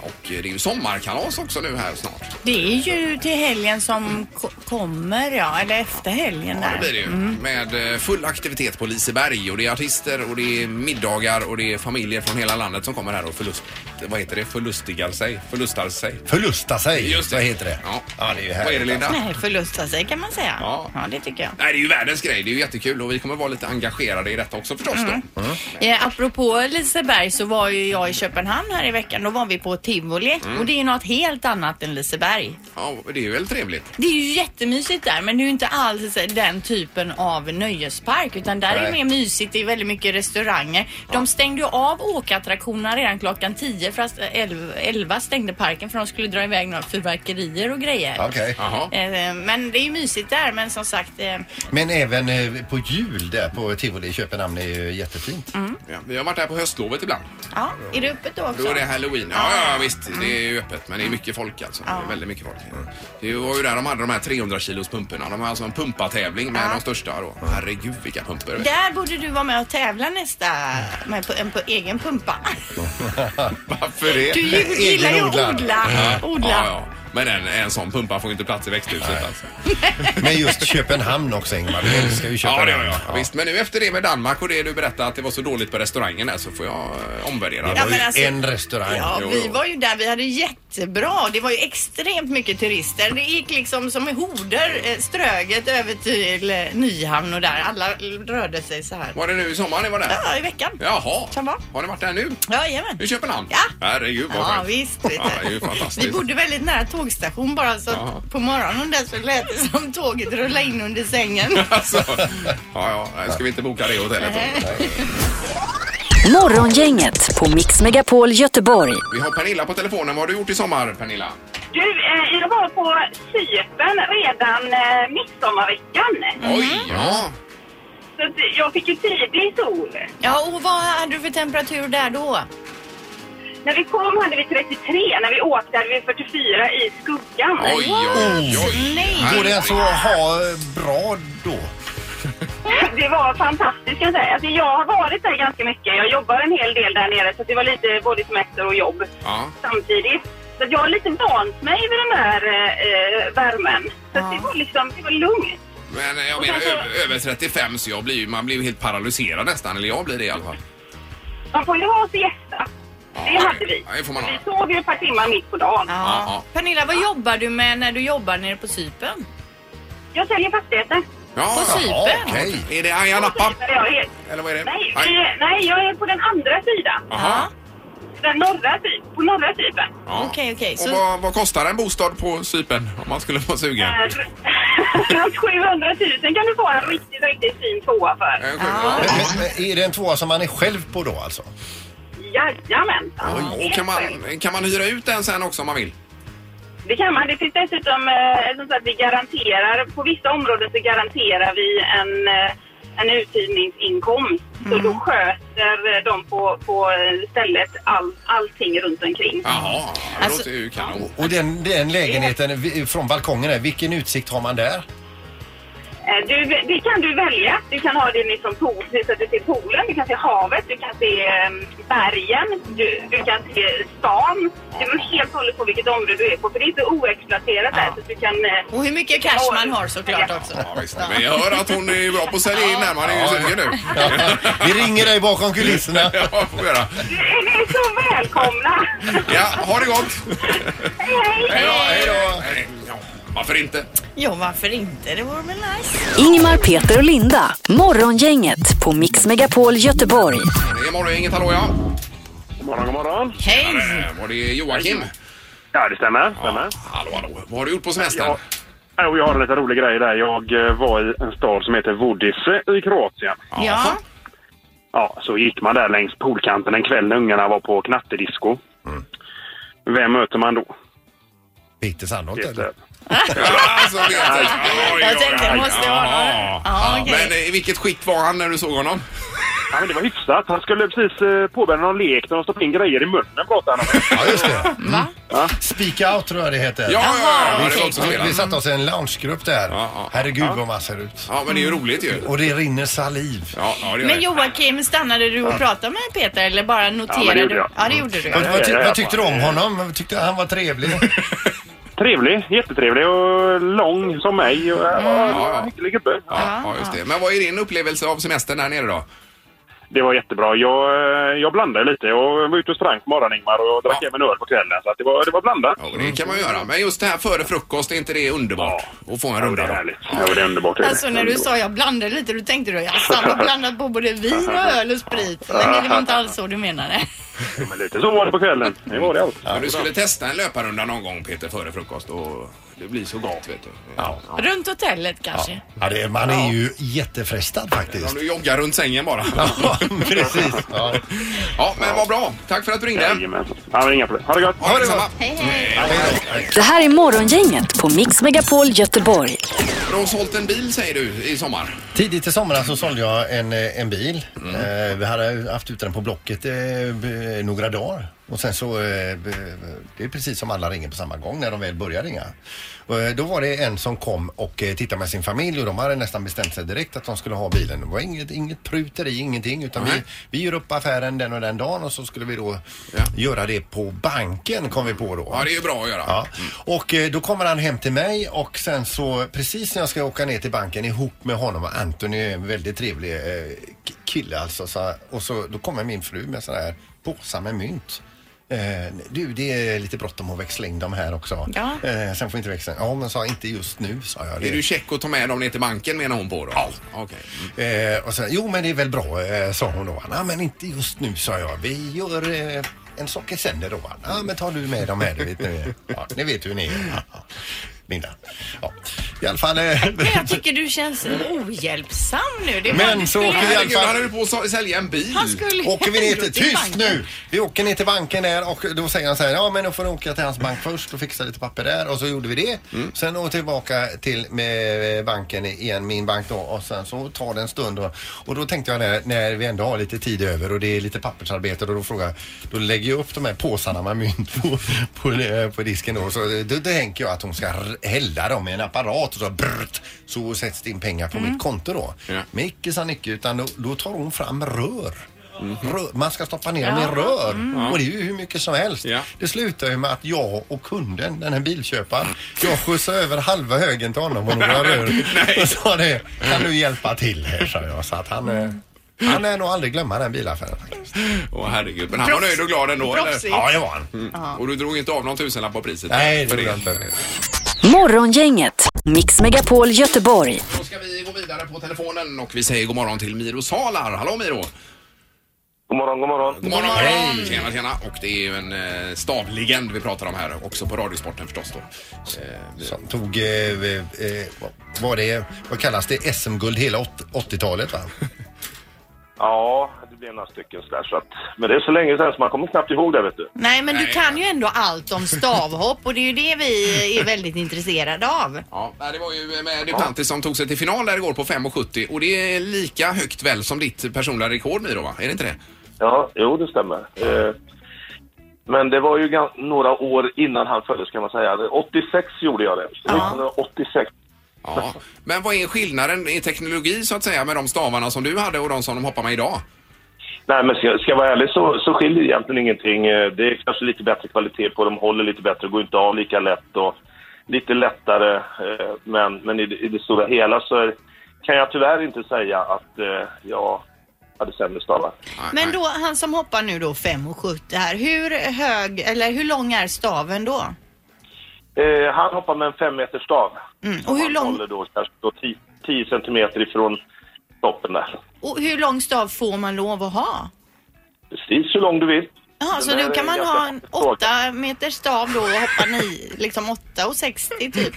Speaker 2: Och eh, det är ju sommarkalas också nu här snart.
Speaker 3: Det är ju till helgen som ko- kommer, ja. Eller efter helgen där.
Speaker 2: Det blir det ju.
Speaker 3: Mm.
Speaker 2: Med eh, full aktivitet på Liseberg och det är artister och det är middagar och det är familjer från hela landet som kommer här och förlust... Vad heter det? Förlustigar sig? Förlustar sig?
Speaker 1: Förlusta sig,
Speaker 2: Just det.
Speaker 1: vad heter det?
Speaker 2: Ja.
Speaker 1: det är ju
Speaker 2: Vad är
Speaker 1: härligt,
Speaker 2: det Linda?
Speaker 3: Nej, förlusta sig kan man säga.
Speaker 2: Ja.
Speaker 3: det tycker jag.
Speaker 2: Nej, det är ju världens grej. Det är ju jättekul och vi kommer vara lite engagerade i detta också förstås då.
Speaker 3: Eh, apropå Liseberg så var ju jag i Köpenhamn här i veckan. Då var vi på Tivoli
Speaker 2: Mm.
Speaker 3: och det är ju något helt annat än Liseberg.
Speaker 2: Ja, och det är ju väldigt trevligt.
Speaker 3: Det är ju jättemysigt där men det är ju inte alls den typen av nöjespark utan där är det
Speaker 2: Nej.
Speaker 3: mer mysigt. Det är väldigt mycket restauranger. De stängde ju av åkattraktionerna redan klockan 10 för att 11 stängde parken för de skulle dra iväg några fyrverkerier och grejer.
Speaker 1: Okej. Jaha.
Speaker 3: Eh, Men det är ju mysigt där men som sagt eh,
Speaker 1: Men även eh, på jul där på Tivoli i Köpenhamn är ju jättefint.
Speaker 2: Ja, vi har varit där på höstlovet ibland.
Speaker 3: ja, är det öppet då också?
Speaker 2: Då är det halloween. Ja, ja visst. Det är ju öppet men det är
Speaker 3: Mm.
Speaker 2: mycket folk alltså. Det är väldigt mycket folk. Det var ju där de hade de här 300 kilos pumporna. De har alltså en pumpatävling med de största då. Herregud vilka pumpor.
Speaker 3: Där borde du vara med och tävla nästa med på, en på egen pumpa.
Speaker 2: Varför det?
Speaker 3: Du ju- gillar ju att
Speaker 2: Egenodlad.
Speaker 3: odla.
Speaker 2: Ja.
Speaker 3: Odla.
Speaker 2: Ja, ja. Men en, en sån pumpa får ju inte plats i växthuset alltså.
Speaker 1: Men just Köpenhamn också Ingmar, du älskar ju
Speaker 2: Ja, det
Speaker 1: Köpenhamn.
Speaker 2: gör jag. Ja. Visst, men nu efter det med Danmark och det du berättade att det var så dåligt på restaurangen där så får jag eh, omvärdera.
Speaker 1: Det var Ja, ju men alltså- en restaurang.
Speaker 3: Ja,
Speaker 2: Jo,
Speaker 3: vi
Speaker 2: jo.
Speaker 3: var ju där, vi hade jättebra. Det var ju extremt mycket turister. Det gick liksom som i horder, eh, Ströget över till eh, Nyhamn och där. Alla l- rörde sig så här.
Speaker 2: Var det nu i sommar ni var där?
Speaker 3: Ja, i veckan.
Speaker 2: Jaha.
Speaker 3: Som var.
Speaker 2: Har ni varit där nu?
Speaker 3: Jajamän.
Speaker 2: I Köpenhamn?
Speaker 3: Ja.
Speaker 2: Herregud vad
Speaker 3: Ja,
Speaker 2: skönt.
Speaker 3: visst. vet
Speaker 2: Ja, det är ju
Speaker 3: Vi
Speaker 2: fantastiskt.
Speaker 3: bodde väldigt nära tågstation bara så
Speaker 2: Ja.
Speaker 3: att på morgonen där så lät det som tåget rullade in under sängen.
Speaker 2: alltså, ja, ja, nej, ska vi inte boka det hotellet då?
Speaker 4: Morgongänget på Mix Megapol Göteborg.
Speaker 2: Vi har Pernilla på telefonen. Vad har du gjort i sommar, Pernilla?
Speaker 11: Du, eh, jag var på Cypern redan eh, midsommarveckan.
Speaker 2: Oj, ja.
Speaker 11: Så att jag fick ju tidig sol.
Speaker 3: Ja, och vad hade du för temperatur där då?
Speaker 11: När vi kom hade vi 33, när vi åkte hade vi 44 i skuggan.
Speaker 2: Oj, oj, oj.
Speaker 11: Nej.
Speaker 1: Oh. Går det alltså att ha eh, bra då?
Speaker 11: <laughs> Det var fantastiskt kan jag säga. Alltså, jag har varit där ganska mycket. Jag jobbar en hel del där nere så det var lite både semester och jobb
Speaker 2: Ja.
Speaker 11: samtidigt. Så att jag har lite vant mig vid den här eh, värmen. Så att det var liksom, det var lugnt.
Speaker 2: Men eh, jag menar ö- över 35 så jag blir, ju- man blir ju helt paralyserad nästan. Eller jag blir det i alla fall.
Speaker 11: Man får ju ha siesta. Det hade vi.
Speaker 2: Ja, det får man ha.
Speaker 11: Vi sov ju ett par timmar mitt på dagen.
Speaker 3: Ja. Pernilla, vad jobbar du med när du jobbar nere på Cypern?
Speaker 11: Jag säljer fastigheter.
Speaker 2: Ja,
Speaker 11: På
Speaker 2: ja,
Speaker 11: Cypern?
Speaker 2: okej. Är det Ayia Napa? Eller vad är det?
Speaker 11: Nej,
Speaker 2: Nej.
Speaker 11: eh, nej, jag är på den andra sidan.
Speaker 2: Aha.
Speaker 11: Den norra typen. På
Speaker 2: <laughs>
Speaker 11: norra typen.
Speaker 2: Ja.
Speaker 3: Okej, okej.
Speaker 2: Och
Speaker 3: Så
Speaker 2: vad, vad kostar en bostad på Cypern om man skulle vara sugen?
Speaker 11: Eh, Runt 700 000 kan du få en riktigt, riktigt fin tvåa för.
Speaker 2: Eh,
Speaker 1: Men Är det en tvåa som man är själv på då alltså?
Speaker 11: Jajamän.
Speaker 2: Och kan man, kan man hyra ut den sen också om man vill?
Speaker 11: Det kan man. Det finns dessutom eh, som sagt, vi garanterar, på vissa områden så garanterar vi en, eh, en uthyrningsinkomst.
Speaker 3: Mm.
Speaker 11: Så då sköter eh, de på, på eh, stället all, allting runt omkring.
Speaker 2: Jaha, det låter ju kanon. <laughs>
Speaker 1: Och den, den lägenheten vi- från balkongen där, vilken utsikt har man där?
Speaker 11: Eh, Du, det kan du välja. Du kan ha det liksom pool, så att du ser poolen, du kan se havet, du kan se eh, bergen, du, du kan se stan. Det beror helt och hållet på vilket område du är på, för det är så oexploaterat där. Så att du kan, eh,
Speaker 3: Och hur mycket cash man har såklart också.
Speaker 2: Men jag hör att hon är bra på att sälja in här. Man är ju sugen nu.
Speaker 1: Vi ringer dig bakom kulisserna.
Speaker 2: <laughs> ja, får vi göra.
Speaker 11: <laughs> Ni är så välkomna!
Speaker 2: Ja, ha det gott! Hej då, hej då! Ja, Varför inte?
Speaker 3: Ja, varför inte? Det vore väl nice.
Speaker 4: Ingmar, Peter och Linda. Morgongänget på Mix Megapol Göteborg.
Speaker 2: Det är morgon, inget hallå ja.
Speaker 12: God morgon, god morgon.
Speaker 2: Hej! Var det Joakim?
Speaker 12: Ja, det stämmer. stämmer.
Speaker 2: Hallå, hallå. Vad har du gjort på semestern?
Speaker 12: Ja, och jag har en liten rolig grej där. Jag eh, var i en stad som heter Vodice i Kroatien.
Speaker 3: Ja.
Speaker 12: Ja, så gick man där längs poolkanten en kväll när ungarna var på knattedisco. Vem möter man då?
Speaker 1: Peter Sandholt eller?
Speaker 2: <laughs> Alltså, vet jag.
Speaker 12: Jag tänkte, det måste vara
Speaker 2: Jaha. Ja, Men eh, i vilket skick var han när du såg honom?
Speaker 12: Ja, men det var hyfsat. Han skulle precis eh, påbörja någon lek när de stoppade in grejer i munnen, pratade han om.
Speaker 1: Ja, just det. Mm. Speak out tror jag det heter.
Speaker 2: Ja, ja, ja, ja, det var också
Speaker 1: Vi
Speaker 2: spelat.
Speaker 1: satte oss i en loungegrupp där. Herregud vad man ser ut.
Speaker 2: Ja, men det är ju roligt ju.
Speaker 1: Och det rinner saliv.
Speaker 2: Ja, ja,
Speaker 3: Men Joakim, stannade du och pratade med Peter eller bara noterade?
Speaker 12: Ja, men det
Speaker 3: du?
Speaker 12: gjorde jag.
Speaker 3: Ja, det gjorde du.
Speaker 13: Mm.
Speaker 1: Vad, vad, ty- vad tyckte du om honom? Tyckte han var trevlig?
Speaker 12: Trevlig, jättetrevlig och lång som mig. Och, ja, det var en hygglig gubbe.
Speaker 2: Ja, just det. Men vad är din upplevelse av semestern där nere då?
Speaker 12: Det var jättebra. Jag, eh, jag blandade lite. Jag var ute och sprang på morgonen, Ingmar, och drack även öl på kvällen. Så att det, var, det var blandat.
Speaker 2: Ja, Det kan man göra. Men just det här före frukost, är inte det underbart? Att få en runda då?
Speaker 12: Ja, det är underbart.
Speaker 3: Alltså när du sa jag blandade lite, då tänkte du jag har blandat på både vin och öl och sprit. Men det var inte alls så du menade.
Speaker 12: Men lite så var det på kvällen. Det var det allt.
Speaker 2: Men du skulle testa en löparrunda någon gång Peter, före frukost och det blir så gott vet du. Ja.
Speaker 3: Runt hotellet kanske?
Speaker 1: Ja, det, man är ju jättefrestad faktiskt.
Speaker 2: Du joggar runt sängen bara.
Speaker 1: <laughs> Ja, precis. Ja,
Speaker 2: men vad bra. Tack för att du ringde.
Speaker 12: Ja, men inga problem. Ha det gott!
Speaker 2: Ha det detsamma.
Speaker 4: Det här är Morgongänget på Mix Megapol Göteborg.
Speaker 2: Du har sålt en bil säger du i sommar.
Speaker 1: Tidigt i somras så sålde jag en, eh, en bil. Eh, vi hade haft ut den på Blocket eh, b- några dagar. Och sen så, eh, b- det är precis som alla ringer på samma gång när de väl börjar ringa. Och, eh, då var det en som kom och eh, tittade med sin familj och de hade nästan bestämt sig direkt att de skulle ha bilen. Det var inget, inget pruteri, ingenting utan vi, vi gör upp affären den och den dagen och så skulle vi då göra det på banken kom vi på då.
Speaker 2: Ja, det är ju bra att göra.
Speaker 1: Ja. Och eh, då kommer han hem till mig och sen så precis när jag ska åka ner till banken ihop med honom och Anthony är en väldigt trevlig eh, k- kille alltså. Så, och så då kommer min fru med sån här påsar med mynt. Eh, du, det är lite bråttom att växla in de här också.
Speaker 2: Ja.
Speaker 1: Eh, sen får inte växla in. Ja, men sa inte just nu, sa jag.
Speaker 2: Är du check att ta med dem ner till banken menar hon på då? Ja.
Speaker 1: Eh, och sen, jo men det är väl bra, eh, sa hon då. Nej men inte just nu, sa jag. Vi gör eh, en socker sen då. Ja men tar du med dem här, du vet ni. Ja, ni vet hur ni är. Ja, Linda. Ja, i alla fall. Eh,
Speaker 3: Men jag tycker du känns ohjälpsam nu. Det var-
Speaker 1: men så åker vi i alla
Speaker 2: Mm. Herregud, han
Speaker 1: fall.
Speaker 2: höll på att sälja en bil.
Speaker 3: Han skulle-
Speaker 1: Åker vi
Speaker 3: <laughs>
Speaker 1: ner
Speaker 3: ändå
Speaker 1: till,
Speaker 3: till
Speaker 1: tyst
Speaker 3: banken.
Speaker 1: nu! Vi åker ner till banken där och då säger han så här, ja men då får du åka till hans bank först och fixa lite papper där och så gjorde vi det. Sen åker tillbaka till med eh, banken igen, min bank då och sen så tar det en stund och, och då tänkte jag när, när vi ändå har lite tid över och det är lite pappersarbete och då frågar jag, då lägger jag upp de här påsarna med mynt på, på, eh, på disken då så då, då tänker jag att hon ska r- hälla dem i en apparat och så brrt, så sätts det in pengar på mitt konto då. Men icke sa Nicke utan då, då tar hon fram rör. Rör, man ska stoppa ner dem i
Speaker 2: Ja.
Speaker 1: rör
Speaker 2: Mm.
Speaker 1: och det är ju hur mycket som helst. Det slutar ju med att jag och kunden, den här bilköparen, jag skjutsar över halva högen till honom och några <laughs> rör och sa det, kan du hjälpa till här, sa jag. Så att han, eh, han är nog aldrig glömma den bilaffären faktiskt.
Speaker 2: Åh herregud. Men han var
Speaker 1: Proffs-
Speaker 2: nöjd och glad ändå
Speaker 1: Proffsigt. Ja, det var han.
Speaker 2: Och du drog inte av någon tusenlapp på priset?
Speaker 1: Mm. Nej, det
Speaker 2: För
Speaker 1: gjorde jag inte.
Speaker 4: Morgongänget, Mix Megapol Göteborg.
Speaker 2: Då ska vi gå vidare på telefonen och vi säger god morgon till Miro Salar. Hallå Miro!
Speaker 12: God morgon, god morgon.
Speaker 2: God morgon! Hej! Tjena, tjena! Och det är ju en eh, stavlegend vi pratar om här, också på Radiosporten förstås då.
Speaker 1: Som tog, eh, eh, eh, vad- vad, det, vad kallas det, SM-guld hela åt- 80-talet va?
Speaker 12: Ja, det blev några stycken sådär. Så att, men det är så länge sedan så man kommer knappt ihåg det, vet du.
Speaker 3: Nej, men du kan ju ändå allt om stavhopp och det är ju det vi är väldigt intresserade av.
Speaker 2: Ja, nej, det var ju med Duplantis som tog sig till final där igår på 5,70 och det är lika högt väl som ditt personliga rekord Miro, va? Är det inte det?
Speaker 12: Ja, jo, det stämmer. Eh, men det var ju gan- några år innan han föddes, kan man säga. 86 gjorde jag det. 1986.
Speaker 2: Ja. Men vad är skillnaden i teknologi så att säga med de stavarna som du hade och de som de hoppar med idag?
Speaker 13: Nej, men ska, ska jag vara ärlig så, så skiljer det egentligen ingenting. Eh, Det är kanske lite bättre kvalitet på dem, håller lite bättre, går inte av lika lätt och lite lättare. eh, Men, men i, det- i det stora hela så är, kan jag tyvärr inte säga att eh, jag hade sämre stavar.
Speaker 3: Men då, han som hoppar nu då 5,70 här, hur hög, eller hur lång är staven då?
Speaker 13: Eh, han hoppar med en fem meter stav.
Speaker 3: Mm. Och, hur
Speaker 13: han
Speaker 3: lång,
Speaker 13: håller då kanske då 10, 10 centimeter ifrån toppen där.
Speaker 3: och hur lång stav får man lov att ha?
Speaker 13: Precis hur lång du vill.
Speaker 3: Ja,
Speaker 13: Den
Speaker 3: så
Speaker 13: där
Speaker 3: nu
Speaker 13: är
Speaker 3: kan man
Speaker 13: ganska
Speaker 3: ha en
Speaker 13: svag.
Speaker 3: 8 meter stav då och hoppa ni, liksom 8,60 typ.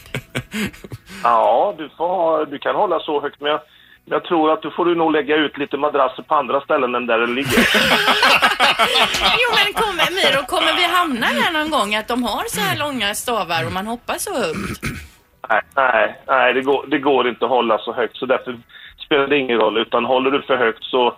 Speaker 13: Ja, du, får, ha- du kan hålla så högt, men jag, men jag tror att du får du nog lägga ut lite madrasser på andra ställen än där den ligger.
Speaker 3: <laughs> Jo men kommer, Miro, kommer vi hamna där någon gång att de har så här långa stavar och man hoppar så högt?
Speaker 13: nej, nej, nej det, går, det går inte att hålla så högt, så därför spelar det ingen roll. Utan håller du för högt så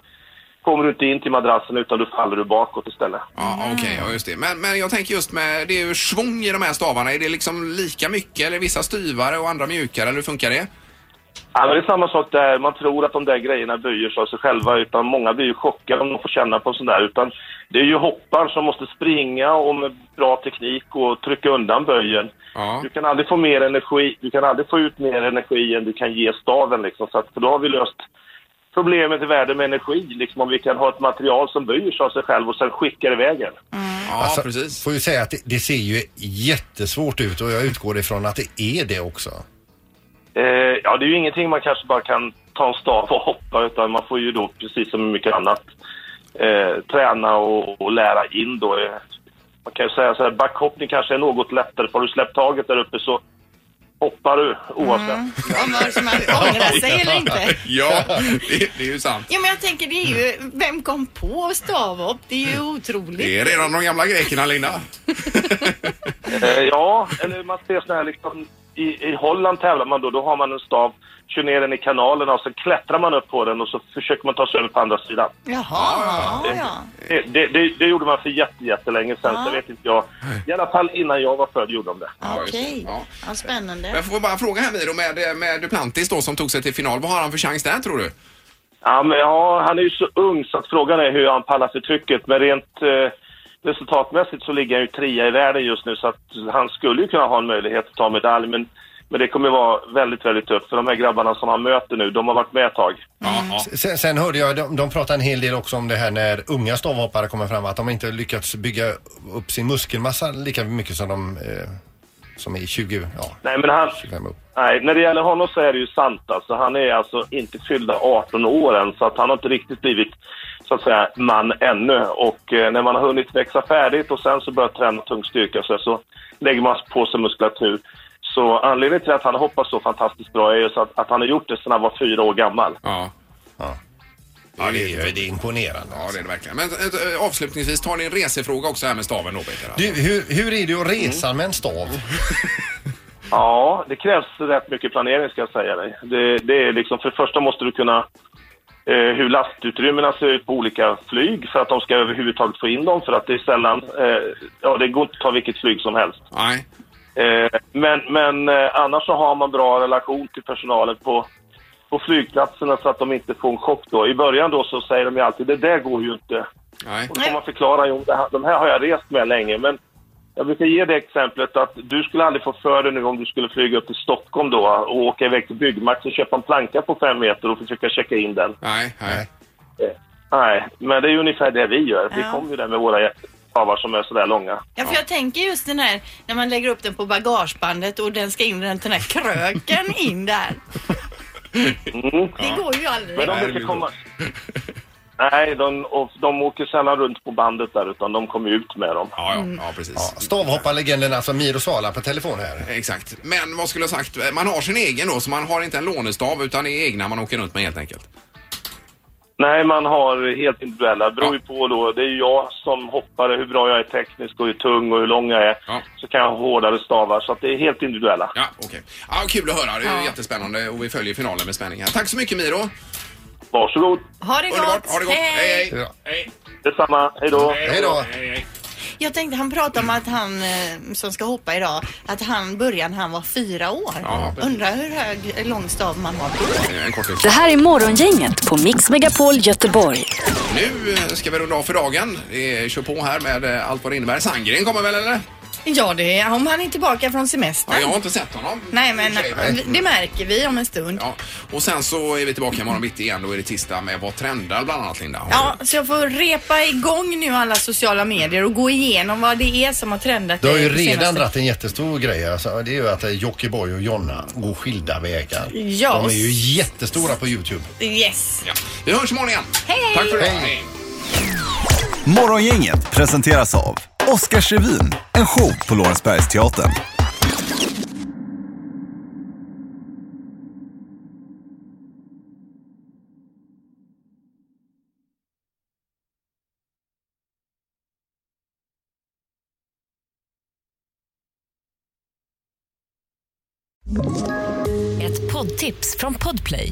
Speaker 13: kommer du inte in till madrassen, utan då faller du bakåt istället.
Speaker 2: Ja, okej, ja, just det. Men, men jag tänker just med, det är ju svung i de här stavarna. Är det liksom lika mycket eller vissa styvare och andra mjukare eller hur funkar det?
Speaker 13: Ja, men det är samma sak där. Man tror att de där grejerna böjer sig av sig själva, utan många blir ju chockade om de får känna på en sån där. Utan det är ju hopparen som måste springa och med bra teknik och trycka undan böjen. Du kan aldrig få mer energi, du kan aldrig få ut mer energi än du kan ge staven liksom. Så att, för då har vi löst problemet i världen med energi, liksom om vi kan ha ett material som böjer sig av sig själv och sen skickar iväg en.
Speaker 2: Ja, precis.
Speaker 1: Får ju säga att det, det ser ju jättesvårt ut och jag utgår ifrån att det är det också.
Speaker 13: Eh, ja, det är ju ingenting man kanske bara kan ta en stav och hoppa utan man får ju då, precis som med mycket annat, eh, träna och, och lära in då. Eh, Man kan ju säga så här, backhoppning kanske är något lättare. Har du släppt taget där uppe så hoppar du oavsett.
Speaker 3: Ångrar sig eller inte?
Speaker 2: Ja, det, det är ju sant.
Speaker 3: Ja men jag tänker det är ju, vem kom på stavhopp? Det är ju otroligt.
Speaker 2: Det är redan de gamla grekerna, Linda.
Speaker 13: Eh, ja, eller man ser såna här liksom, i, i Holland tävlar man då, då har man en stav, kör ner den i kanalerna och så klättrar man upp på den och så försöker man ta sig över på andra sidan.
Speaker 3: Jaha,
Speaker 13: ja, Det, det, det, det gjorde man för jätte, jättelänge sedan,
Speaker 3: Ja.
Speaker 13: så vet inte jag. I alla fall innan jag var född gjorde de det.
Speaker 3: Okej, ja, spännande.
Speaker 2: Men jag får bara fråga här Miro med, med Duplantis då som tog sig till final. Vad har han för chans där tror du?
Speaker 13: Ja, men, ja, han är ju så ung så att frågan är hur han pallar för trycket. Men rent eh, resultatmässigt så ligger han ju trea i världen just nu så att han skulle ju kunna ha en möjlighet att ta medalj. Men, men det kommer vara väldigt, väldigt tufft för de här grabbarna som han möter nu, de har varit med ett tag.
Speaker 1: Sen, sen hörde jag, de, de pratade en hel del också om det här när unga stavhoppare kommer fram, att de inte lyckats bygga upp sin muskelmassa lika mycket som de eh, som är 20, ja.
Speaker 13: Nej, men han,
Speaker 1: 25 upp.
Speaker 13: nej, när det gäller honom så är det ju sant alltså. Han är alltså inte fyllda 18 år än så att han har inte riktigt blivit så att säga man ännu. Och eh, när man har hunnit växa färdigt och sen så börjar träna tung styrka så, så lägger man på sig muskulatur. Så anledningen till att han hoppar så fantastiskt bra är ju så att, att han har gjort det sedan han var fyra år gammal.
Speaker 2: Ja.
Speaker 1: Ja, det är, ju- det är imponerande.
Speaker 2: Ja, det är det verkligen. Men eh, avslutningsvis, tar ni en resefråga också här med staven då, Peter?
Speaker 1: Du, hur, hur är det att resa med en stav?
Speaker 13: Ja, det krävs rätt mycket planering ska jag säga dig. Det, det är liksom, för det första måste du kunna eh, hur lastutrymmena ser ut på olika flyg för att de ska överhuvudtaget få in dem för att det är sällan, eh, ja det går inte att ta vilket flyg som helst.
Speaker 2: Nej.
Speaker 13: Eh, men men eh, annars så har man bra relation till personalen på, på flygplatserna så att de inte får en chock då. I början då så säger de ju alltid det där går ju inte.
Speaker 2: Nej.
Speaker 13: Och då får man förklara, jo det här, de här har jag rest med länge men jag brukar ge det exemplet att du skulle aldrig få för dig nu om du skulle flyga upp till Stockholm då och åka iväg till Byggmax och köpa en planka på fem meter och försöka checka in den. Eh,
Speaker 2: Nej, nej.
Speaker 13: Nej, men det är ju ungefär det vi gör. Vi kommer ju där med våra stavar som är sådär långa.
Speaker 3: Ja, för jag tänker just den här när man lägger upp den på bagagebandet och den ska in den, den här kröken in där.
Speaker 13: Mm.
Speaker 3: Det går ju aldrig.
Speaker 13: Men de brukar komma... Nej, de, och de åker sällan runt på bandet där utan de kommer ut med dem.
Speaker 2: <laughs> Ja,
Speaker 4: Mm.
Speaker 2: ja, precis. Mm.
Speaker 1: Stavhopparlegenden alltså Miro Sala på telefon här.
Speaker 2: Exakt. Men vad skulle jag sagt? Man har sin egen då, så man har inte en lånestav utan det är egna man åker runt med helt enkelt.
Speaker 13: Nej, man har helt individuella. Det beror ju på då. Det är ju jag som hoppare, hur bra jag är tekniskt och hur tung och hur lång jag är. Så kan jag ha hårdare stavar, så att det är helt individuella.
Speaker 2: Ja, okej. Ja, kul att höra. Det är ju jättespännande och vi följer finalen med spänning här. Tack så mycket Miro.
Speaker 13: Varsågod.
Speaker 3: Ha det gott!
Speaker 2: Ha det gott. Hej, hej.
Speaker 13: Detsamma. Hej då.
Speaker 2: Hej då.
Speaker 3: Jag tänkte, han pratade om att han eh, som ska hoppa idag, att han började när han var fyra år.
Speaker 2: Ja.
Speaker 3: Undrar hur hög, eh, lång stav man har då.
Speaker 2: En kortis.
Speaker 4: Det här är Morgongänget på Mix Megapol Göteborg.
Speaker 2: Nu eh, ska vi runda av för dagen. Eh, Kör på här med eh, allt vad det innebär. Sandgren kommer väl eller?
Speaker 3: Ja, det är om han är tillbaka från
Speaker 2: Ja,
Speaker 3: semestern.
Speaker 2: jag har inte sett honom.
Speaker 3: Nej, men
Speaker 2: Okej, nej.
Speaker 3: det märker vi om en stund.
Speaker 2: Ja. Och sen så är vi tillbaka imorgon bitti igen. Då är det tisdag med Vad trendar bland annat Linda.
Speaker 3: Ja, så jag får repa igång nu alla sociala medier och gå igenom vad det är som har trendat
Speaker 1: Du har ju
Speaker 3: det senaste.
Speaker 1: redan dragit en jättestor grej. Alltså, det är ju att eh, Jockiboi och Jonna går skilda vägar.
Speaker 3: Ja,
Speaker 1: De är ju
Speaker 3: och-
Speaker 1: jättestora på Youtube.
Speaker 3: Yes.
Speaker 2: Vi hörs imorgon igen.
Speaker 3: Hej!
Speaker 2: Tack för det.
Speaker 3: Hej.
Speaker 14: Morgongänget presenteras av Oscarsrevyn, en show på Lorensbergsteatern.
Speaker 15: Ett poddtips från Podplay.